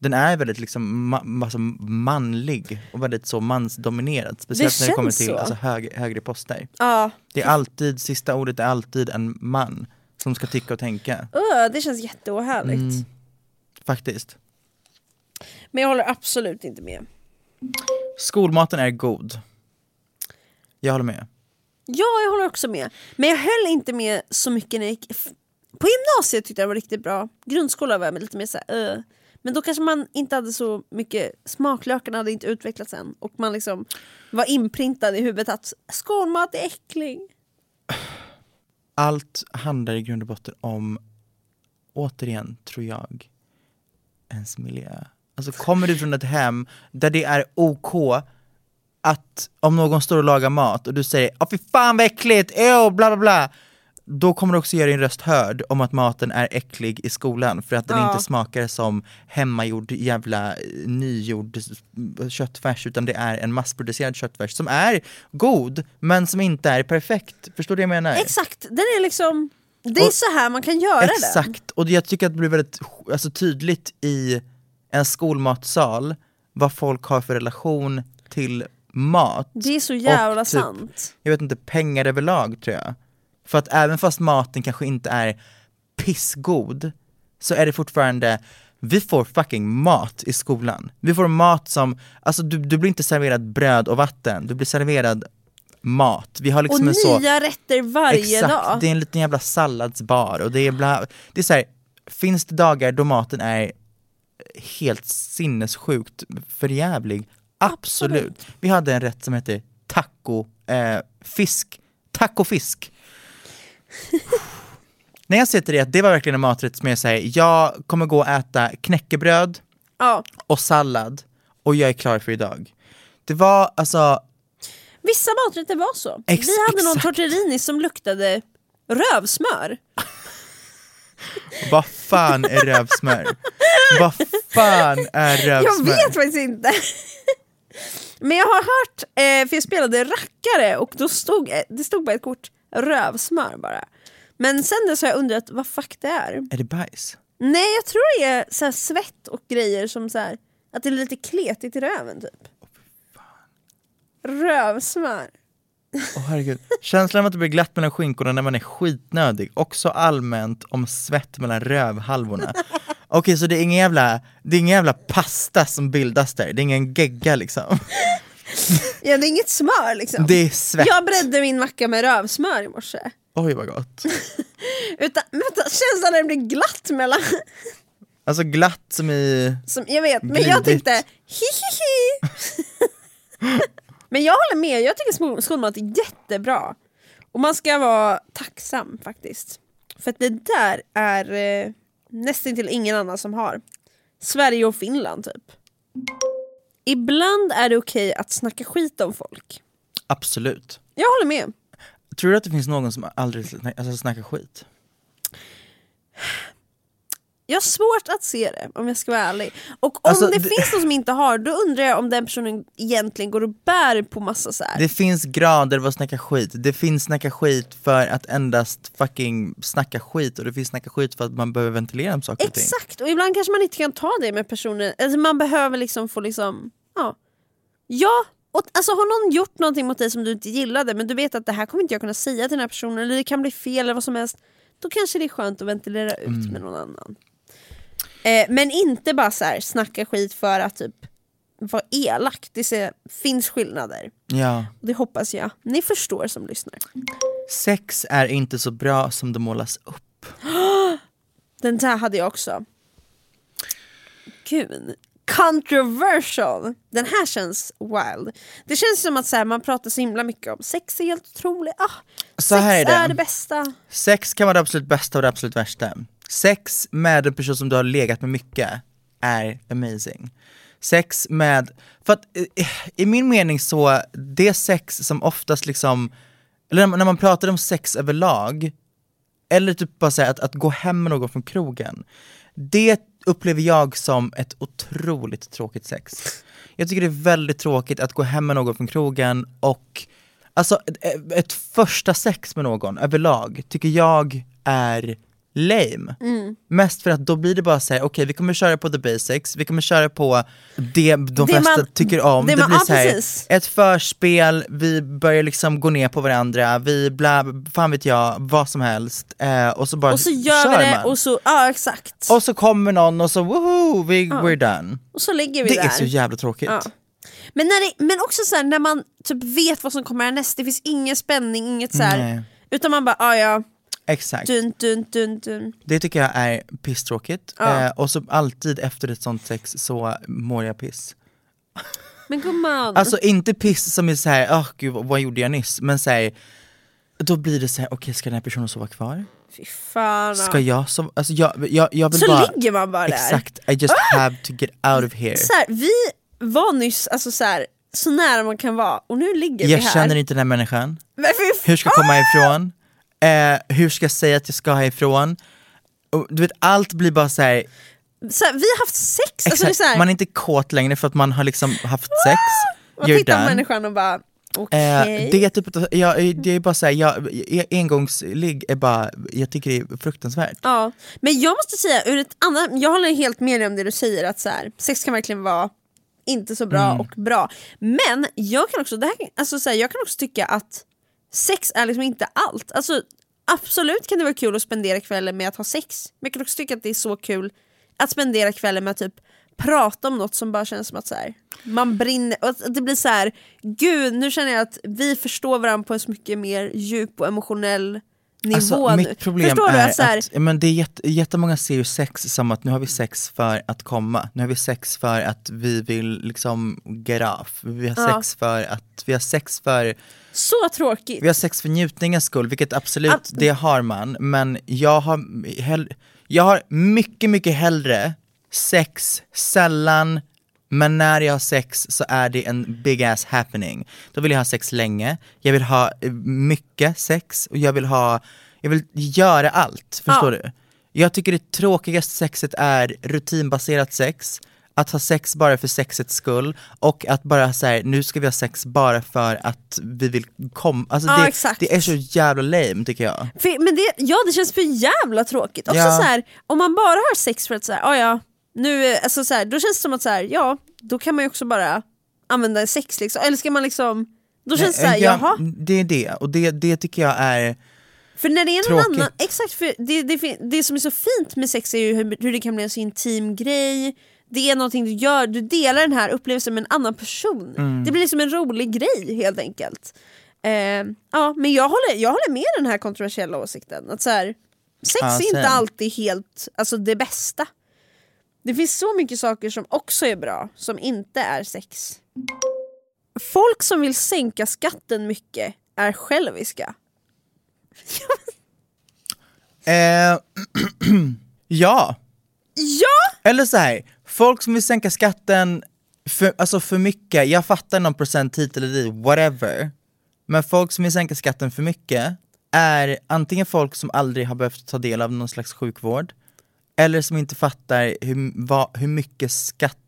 den är väldigt liksom ma- alltså manlig och väldigt så mansdominerad. Speciellt när det känns kommer till så. alltså, hög, högre poster. Ja, Det är alltid, sista ordet är alltid en man som ska tycka och tänka. öh, det känns jätteohärligt. Mm. Faktiskt. Men jag håller absolut inte med. Skolmaten är god. Jag håller med. Ja, jag håller också med. Men jag höll inte med så mycket när jag gick... På gymnasiet tyckte jag det var riktigt bra. Grundskolan var jag lite mer såhär... Uh. Men då kanske man inte hade så mycket, smaklökarna hade inte utvecklats än och man liksom var inprintad i huvudet att skålmat är äckling. Allt handlar i grund och botten om, återigen tror jag, ens miljö. Alltså kommer du från ett hem där det är OK att om någon står och lagar mat och du säger "Åh fy fan vad äckligt, ew, bla bla bla. Då kommer du också göra din röst hörd om att maten är äcklig i skolan för att den Ja. inte smakar som hemmagjord jävla eh, nygjord s- köttfärs utan det är en massproducerad köttfärs som är god men som inte är perfekt. Förstår du vad jag menar? Exakt, den är liksom, det är Och- så här man kan göra det. Exakt, och jag tycker att det blir väldigt alltså, tydligt i en skolmatsal vad folk har för relation till mat. Det är så jävla Och typ- sant. Jag vet inte, pengar överlag tror jag. För att även fast maten kanske inte är pissgod så är det fortfarande vi får fucking mat i skolan. Vi får mat som, alltså du, du blir inte serverad bröd och vatten, du blir serverad mat. Vi har Och liksom nya en så... rätter varje Exakt, dag. det är en liten jävla salladsbar och det är bla, det är så här, finns det dagar då maten är helt sinnessjukt förjävlig? Absolut. Vi hade en rätt som hette taco, eh, fisk, tacofisk. När jag säger till dig att det var verkligen en maträtt som jag säger, jag kommer gå och äta knäckebröd Ja. och sallad och jag är klar för idag. Det var alltså Vissa maträtter var så. Ex- Vi hade någon exakt. tortellini som luktade rövsmör. Vad fan är rövsmör? Vad fan är Jag rövsmör? vet faktiskt inte. Men jag har hört, eh, för jag spelade rackare och då stod eh, det stod bara ett kort rövsmör bara. Men sen dess har jag undrat vad fuck det är. Är det bajs? Nej jag tror det är så här svett och grejer som så här, att det är lite kletigt i röven typ. Rövsmör. Åh herregud. Känslan av att det blir glatt mellan skinkorna när man är skitnödig. Också allmänt om svett mellan rövhalvorna. Okej, så det är, ingen jävla, det är ingen jävla pasta som bildas där. Det är ingen gegga liksom. Ja det är inget smör liksom. Det är svett. Jag bredde min macka med rövsmör i morse. Oj vad gott. Utan, vänta, känslan när det blir glatt mellan... Alltså glatt som i... Som, jag vet, men jag Glidigt. tänkte hihihi. men jag håller med, jag tycker skol- skolmat är jättebra. Och man ska vara tacksam faktiskt. För att det där är eh, nästan till ingen annan som har. Sverige och Finland typ. Ibland är det okej att snacka skit om folk. Absolut. Jag håller med. Tror du att det finns någon som aldrig sna- alltså, snackar skit? Jag har svårt att se det om jag ska vara ärlig. Och om Alltså, det, det- finns någon som inte har, då undrar jag om den personen egentligen går och bär på massa så här. Det finns grader av att snacka skit. Det finns snacka skit för att endast fucking snacka skit och det finns snacka skit för att man behöver ventilera om saker och ting. Exakt, och ibland kanske man inte kan ta det med personen. Alltså man behöver liksom få liksom, ja. Ja, och, alltså har någon gjort någonting mot dig som du inte gillade men du vet att det här kommer inte jag kunna säga till den här personen eller det kan bli fel eller vad som helst. Då kanske det är skönt att ventilera ut Mm. med någon annan. Eh, men inte bara så här, snacka skit för att typ vara elak. Det ser, finns skillnader. Ja. Och det hoppas jag ni förstår som lyssnar. Sex är inte så bra som det målas upp. Den där hade jag också. Gud. Controversial! Den här känns wild. Det känns som att så här, man pratar så himla mycket om sex är helt otroligt. Ah, Så sex här är det. Alltså, är det bästa. Sex kan vara det absolut bästa och det absolut värsta. Sex med en person som du har legat med mycket är amazing. Sex med, för att eh, i min mening så, det sex som oftast liksom, eller när man- när man pratar om sex överlag, eller typ bara säga att, att gå hem med någon från krogen, det upplever jag som ett otroligt tråkigt sex. Jag tycker det är väldigt tråkigt att gå hem med någon från krogen och Alltså ett, ett första sex med någon överlag tycker jag är lame. Mm. Mest för att då blir det bara såhär, okej vi kommer köra på the basics, vi kommer köra på det de flesta man- tycker om. det Det, man- blir ja, så här, precis. ett förspel, vi börjar liksom gå ner på varandra, vi bla, fan vet jag, vad som helst. Eh, och så bara Och så gör vi kör det man. och så, ja exakt. Och, Och så kommer någon och så woho, vi, we're done. så lägger vi Det där. är så jävla tråkigt. Ja. Men, när det, men också så här, när man typ vet vad som kommer härnäst, det finns ingen spänning, inget så här, Nej. Utan man bara, ah, ja Exakt. Dun, dun, dun, dun. Det tycker jag är pisstråkigt. Ja. Eh, och så alltid efter ett sånt sex så mår jag piss. Men gumman. Alltså inte piss som är såhär, åh gud vad- vad gjorde jag nyss? Men såhär, då blir det såhär, okej ska den här personen sova kvar? fy fan. Ska jag sova? Alltså jag, jag, jag vill så bara... ligger man bara där. Ah, Exakt, I just have to get out of here. Så här, vi var nyss alltså så, här, så nära man kan vara och nu ligger vi Jag här. känner inte den här människan. Men fy Ah! Hur ska jag komma ifrån? Eh, hur ska jag säga att jag ska härifrån? Och, du vet allt blir bara såhär, Så här, vi har haft sex, alltså, det är exakt, så här, man är inte kåt längre för att man har liksom haft sex. man You're tittar på done. människan och bara okej. Eh, det, är typ, ett- ja, det är bara såhär, ja, engångsligg är bara, jag tycker det är fruktansvärt. Ja. Men jag måste säga, ur ett annat, jag håller helt med dig om det du säger att så här, sex kan verkligen vara inte så bra Mm. och bra. Men jag kan också, det här, alltså så här, jag kan också tycka att sex är liksom inte allt. Alltså, absolut kan det vara kul att spendera kvällen med att ha sex. Men jag kan också tycka att det är så kul att spendera kvällen med att typ prata om något som bara känns som att så här, man brinner. Och att det blir så här, gud nu känner jag att vi förstår varandra på en så mycket mer djup och emotionell nivå Alltså, nu. mitt problem förstår du? är Att, så här, att ja, men det är jätte, jättemånga ser ju sex som att nu har vi sex för att komma, nu har vi sex för att vi vill liksom get off, vi har Ja. sex för att, vi har sex för, Så tråkigt. vi har sex för njutningens skull, vilket absolut, Ab- det har man, men jag har, hell, jag har mycket, mycket hellre sex sällan, men när jag har sex så är det en big ass happening. Då vill jag ha sex länge, jag vill ha eh, mycket sex och jag vill ha, jag vill göra allt, förstår du? Jag tycker det tråkigaste sexet är rutinbaserat sex, att ha sex bara för sexets skull och att bara säga nu ska vi ha sex bara för att vi vill komma, alltså Ja, det, exakt. det är så jävla lame tycker jag. För, men det, ja, det känns för jävla tråkigt. Också Ja. så här, om man bara har sex för att så här, "Ah, ja, nu, är- alltså så här, då känns det som att så här, ja, då kan man ju också bara använda sex liksom. Eller ska man liksom, då känns det så här, Eh, ja, jaha. Det är det, och det, det tycker jag är, För när det är någon Tråkigt. annan, exakt, för det, det, fin- det som är så fint med sex är ju hur, hur det kan bli en så intim grej. Det är någonting du gör, du delar den här upplevelsen med en annan person. Mm. Det blir liksom en rolig grej helt enkelt. Eh, ja, men jag håller, jag håller med den här kontroversiella åsikten. Att så här, sex Ja, är inte same. alltid helt alltså, det bästa. Det finns så mycket saker som också är bra, som inte är sex. Folk som vill sänka skatten mycket är själviska. eh, ja, Ja! Eller så här, folk som vill sänka skatten för, alltså för mycket, jag fattar någon procent hit eller dit, whatever. Men folk som vill sänka skatten för mycket är antingen folk som aldrig har behövt ta del av någon slags sjukvård, eller som inte fattar hur, vad, hur mycket skatt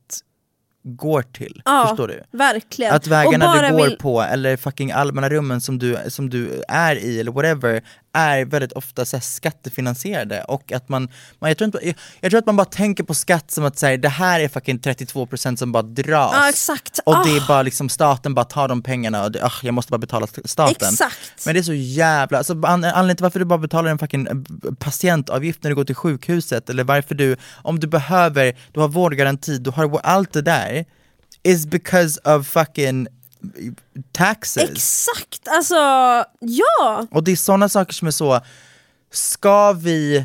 går till. Ja, Förstår du? verkligen. Att vägarna Och du bara går vill- på eller fucking allmänna rummen som du, som du är i eller whatever är väldigt ofta så här, skattefinansierade och att man, man jag, tror inte, jag, jag tror att man bara tänker på skatt som att säga det här är fucking 32% som bara dras. Ja, exakt. Och det Ah. är bara liksom staten bara tar de pengarna och det, ah, jag måste bara betala st- staten. Exakt. Men det är så jävla, alltså, an, anledningen till varför du bara betalar en fucking eh, patientavgift när du går till sjukhuset eller varför du, om du behöver, du har vårdgaranti, du har allt det där is because of fucking taxes. Exakt, alltså ja! och det är sådana saker som är så, ska vi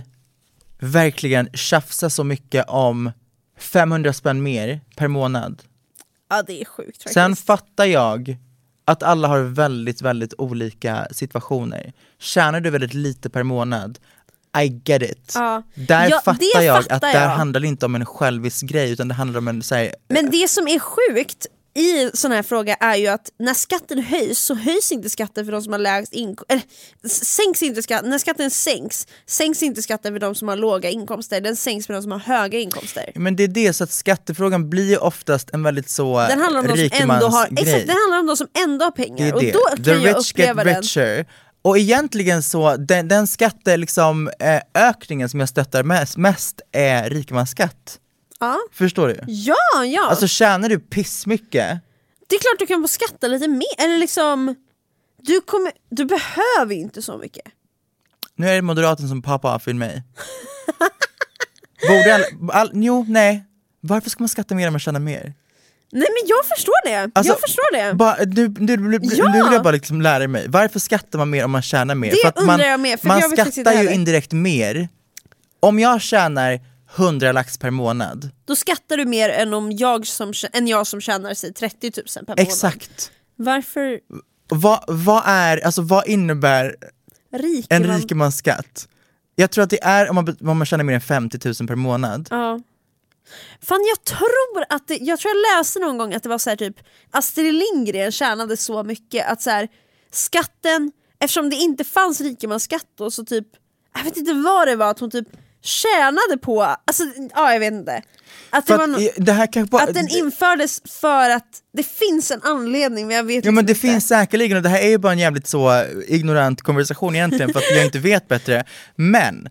verkligen tjafsa så mycket om 500 spänn mer per månad? Ja det är sjukt faktiskt. Sen fattar jag att alla har väldigt, väldigt olika situationer. Tjänar du väldigt lite per månad, I get it. Ja. Där Ja, det fattar jag fattar att där jag. handlar det inte om en självisk grej utan det handlar om en så här, Men det som är sjukt i sån här fråga är ju att när skatten höjs så höjs inte skatten för de som har lägst inkomst. Äh, sänks inte skatten, när skatten sänks, sänks inte skatten för de som har låga inkomster. Den sänks för de som har höga inkomster. Men det är det, så att skattefrågan blir ju oftast en väldigt så Den handlar om de som ändå har, exakt, den handlar om de som ändå har pengar. det är och det. då kan The jag rich get uppleva den. richer. Och egentligen så, den, den skatte, liksom, eh, ökningen som jag stöttar mest, mest är rikemansskatt. Ja, Förstår du? ja! ja. Alltså tjänar du pissmycket Det är klart du kan få skatta lite mer, eller liksom du, kommer, du behöver ju inte så mycket. Nu är det moderaten som pappa för mig. Borde all, all, jo, nej. Varför ska man skatta mer om man tjänar mer? Nej men jag förstår det, Alltså, jag förstår det. Bara, nu, nu, nu, Ja! nu vill jag bara liksom lära mig, varför skattar man mer om man tjänar mer? Det man, undrar jag med, för man jag vet faktiskt inte skattar ju heller. indirekt mer. Om jag tjänar 100 lax per månad, Då skattar du mer än, om jag, som, än jag som tjänar sig 30 000 per månad. exakt. Varför Vad, vad, är, alltså, vad innebär rik en man? rikemansskatt? Jag tror att det är om man, be- om man tjänar mer än 50 000 per månad. Ja. Fan jag tror att det, jag tror jag läste någon gång att det var så här typ Astrid Lindgren tjänade så mycket att så här, skatten, eftersom det inte fanns rikemansskatt då så typ, jag vet inte vad det var att hon typ tjänade på, alltså ja jag vet inte. Att, det För var att, no- i- det här kanske bara, att den infördes för att det finns en anledning men jag vet Ja liksom men det inte. finns säkerligen, och det här är ju bara en jävligt så eh, ignorant konversation egentligen för att jag inte vet bättre. Men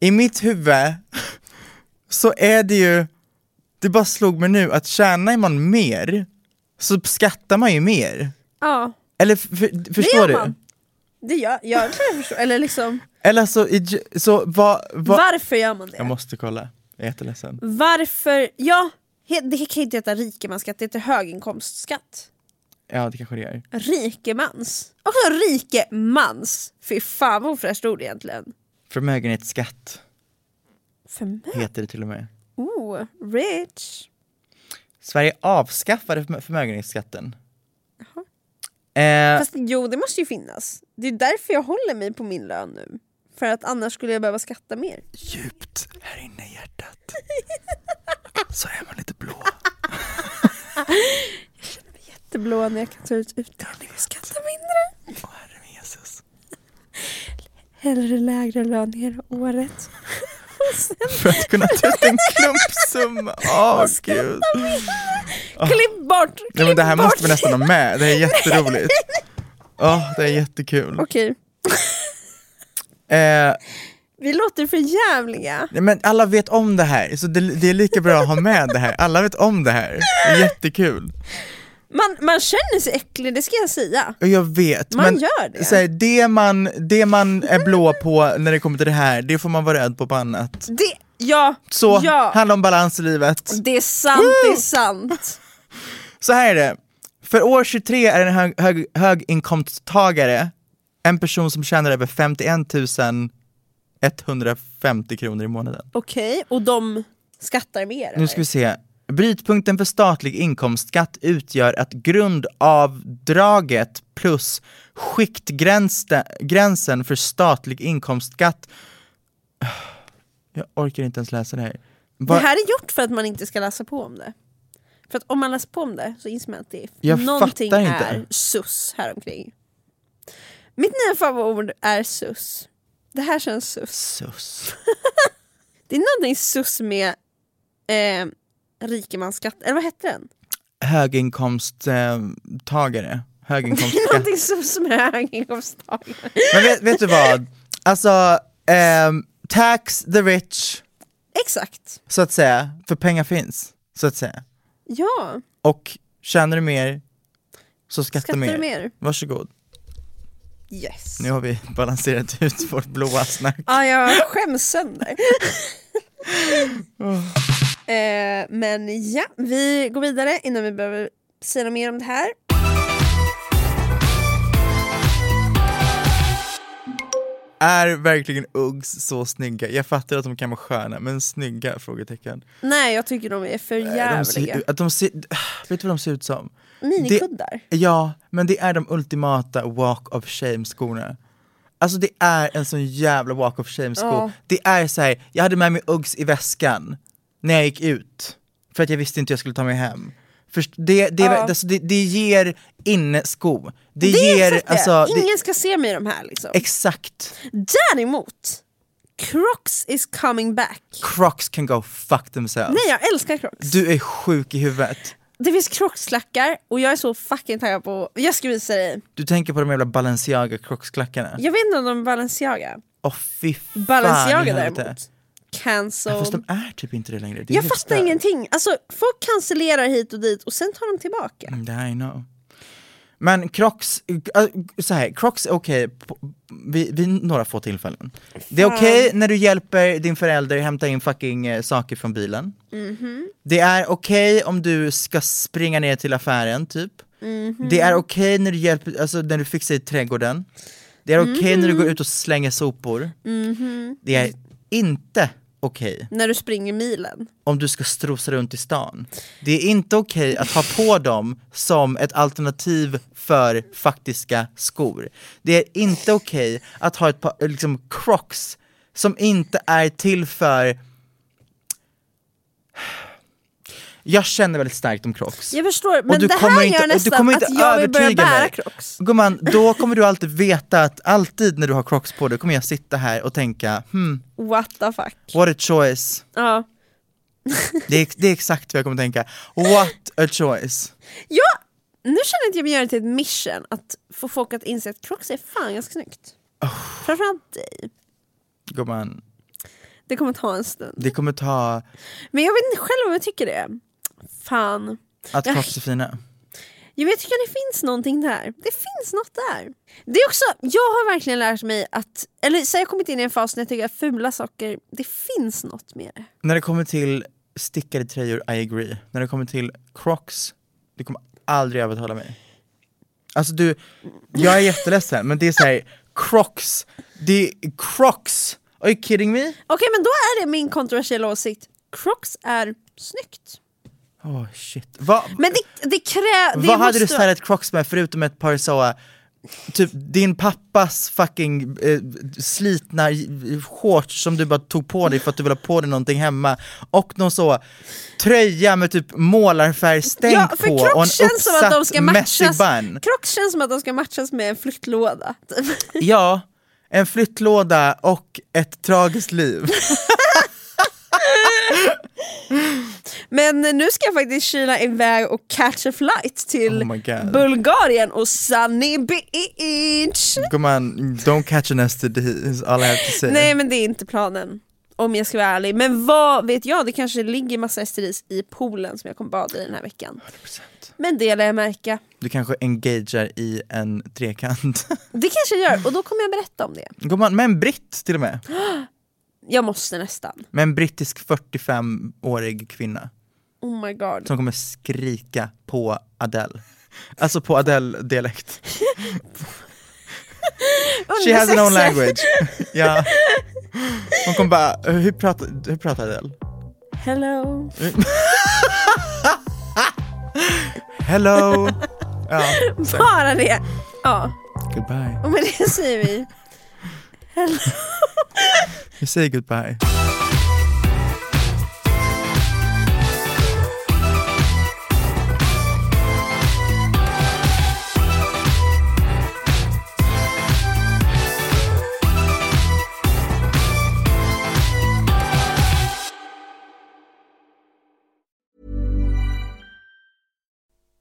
i mitt huvud så är det ju, det bara slog mig nu att tjänar man mer så skattar man ju mer. Ja, Eller f- f- förstår gör du? man. det gör jag, tror jag förstår. Eller liksom, Eller så, i- så vad... vad- varför gör man det? Jag måste kolla, jag är jätteledsen. Varför, ja, he- det kan ju inte heta rikemansskatt, det heter höginkomstskatt. Ja det kanske det är. Rikemans. Också rikemans. Fy fan vad ofräscht ord egentligen. Förmögenhetsskatt För mig? heter det till och med. Oh, rich. Sverige avskaffade förmö- förmögenhetsskatten. Eh, Fast jo, det måste ju finnas. Det är därför jag håller mig på min lön nu. För att annars skulle jag behöva skatta mer. djupt här inne i hjärtat så är man lite blå. Det blå när jag kan ta ut utdelning och skatta mindre. Åh herre min Jesus. Hellre lägre lön hela året. och sen För att kunna ta ut en klumpsumma. Åh gud. Ah. klipp bort! Klipp Nej, men det här bort. måste vi nästan ha med. Det här är jätteroligt. Åh, det är jättekul. Okej, Eh, vi låter för jävliga. nej, men alla vet om det här, så det, det är lika bra att ha med det här. Alla vet om det här. Det är jättekul. Man, man känner sig äcklig, det ska jag säga. Och Jag vet, Man men gör det. Så här, det, man, det man är blå på när det kommer till det här, det får man vara rädd på på annat. Det, ja, Så, ja. handlar om balans i livet. Det är sant, det är sant. Så här är det. För år 23 är en hög, hög, höginkomsttagare en person som tjänar över 51 150 kronor i månaden. Okej, och de skattar mer? Nu ska vi se. Brytpunkten för statlig inkomstskatt utgör att grundavdraget plus skiktgränsen för statlig inkomstskatt... Jag orkar inte ens läsa det här. Det Vad- här är gjort för att man inte ska läsa på om det. För att om man läser på om det så inser man att det är Jag någonting fattar inte. är sus häromkring. Mitt nya favoritord är sus. Det här känns sus. Sus. Det är någonting sus med eh, rikemansskatt, eller vad hette den? Höginkomsttagare. Det är Höginkomstskatt. någonting sus med höginkomsttagare. Men vet, vet du vad? Alltså, ehm, tax the rich, Exakt, så att säga, för pengar finns, så att säga. ja. Och tjänar du mer, så skattar Skattar du mer? Varsågod. Yes. Nu har vi balanserat ut vårt blåa snack. Ja, jag skäms sönder. eh, men ja, vi går vidare innan vi behöver säga något mer om det här. Är verkligen Uggs så snygga? Jag fattar att de kan vara sköna, men snygga? Frågetecken. Nej, jag tycker de är för De jävliga. ser, att de ser, vet du vad de ser ut som? Minikuddar. Det, ja, men det är de ultimata walk of shame-skorna. Alltså det är en sån jävla walk of shame-sko. Det är så här, jag hade med mig Uggs i väskan när jag gick ut, för att jag visste inte jag skulle ta mig hem. Först, det, det, alltså, det, det ger innesko. Det, Det är ger, exakt det. alltså, det, Ingen ska se mig i de här liksom. exakt. Däremot, Crocs is coming back. Crocs can go fuck themselves. Nej, jag älskar Crocs. Du är sjuk i huvudet. Det finns Crocs-klackar och jag är så fucking taggad på... Jag ska visa dig. Du tänker på de jävla Balenciaga Crocs-klackarna. Jag vet inte om de är Balenciaga. Åh fy fan i Balenciaga helvete. däremot. Ja, Fast Cancelled. de är typ inte det längre. Det är Jag helt fattar stört. ingenting. Alltså, folk cancellerar hit och dit och sen tar de tillbaka. Mm, Det här I know. Men Crocs, äh, så här, Crocs är okej på- vid, vid några få tillfällen. Det är okej när du hjälper din förälder hämta in fucking eh, saker från bilen. Det är okej om du ska springa ner till affären typ. Det är okej när du hjälper, alltså när du fixar i trädgården. Det är okej när du går ut och slänger sopor. Det är inte okej När du springer milen. om du ska strosa runt i stan. Det är inte okej att ha på dem som ett alternativ för faktiska skor. Det är inte okej att ha ett par eh, liksom, crocs som inte är till för... Jag känner väldigt starkt om crocs. Jag förstår, men det här gör nästan att jag vill börja bära Crocs. Gumman, då kommer du alltid veta att alltid när du har crocs på dig kommer jag sitta här och tänka hmm, What the fuck. what a choice. Ja. Det är, det är exakt vad jag kommer tänka. What a choice. ja, nu känner inte jag mig göra det till ett mission att få folk att inse att Crocs är fan ganska snyggt. Framförallt dig. Gumman, Det kommer ta en stund. det kommer ta Men jag vet inte själv om jag tycker det. Fan. att Jag- Crocs är fina. Ja, men jag tycker att det finns någonting där. Det finns något där. Det är också, jag har verkligen lärt mig att, eller så har jag kommit in i en fas när jag tycker att fula saker, det finns något med det. När det kommer till stickade tröjor, I agree. När det kommer till Crocs, du kommer aldrig övertala mig. Alltså du, jag är jätteledsen men det är såhär, Crocs, det är Crocs! Are you kidding me? Okej men då är det min kontroversiella åsikt. Crocs är snyggt. Oh shit. Va, Men det, det kräver... vad hade du stylat Crocs med förutom ett par så, typ din pappas fucking eh, slitna j- shorts som du bara tog på dig för att du ville ha på dig någonting hemma och någon så tröja med typ målarfärgstänk Ja, på för och en Crocs känns som att de ska uppsatt messy matchas. bun. Crocs känns som att de ska matchas med en flyttlåda. typ. Ja, en flyttlåda och ett tragiskt liv. Men nu ska jag faktiskt kila iväg och catch a flight till Oh my God. Bulgarien och Sunny Beach. Gumman, don't catch an STD is all I have to say. Nej men det är inte planen. Om jag ska vara ärlig. Men vad vet jag, det kanske ligger massa STIs i poolen som jag kommer bada i den här veckan. Men det lär jag märka. Du kanske engagerar i en trekant. Det kanske jag gör och då kommer jag berätta om det. Gumman, med en britt till och med. Jag måste nästan. Med en brittisk 45-årig kvinna Oh my god. som kommer skrika på Adele. Alltså på Adele-dialekt. She has her own language. ja. Hon kommer bara, hur pratar, hur pratar Adele? Hello. Hello! ja, Bara det. Ja, goodbye. och med det säger vi. You say goodbye.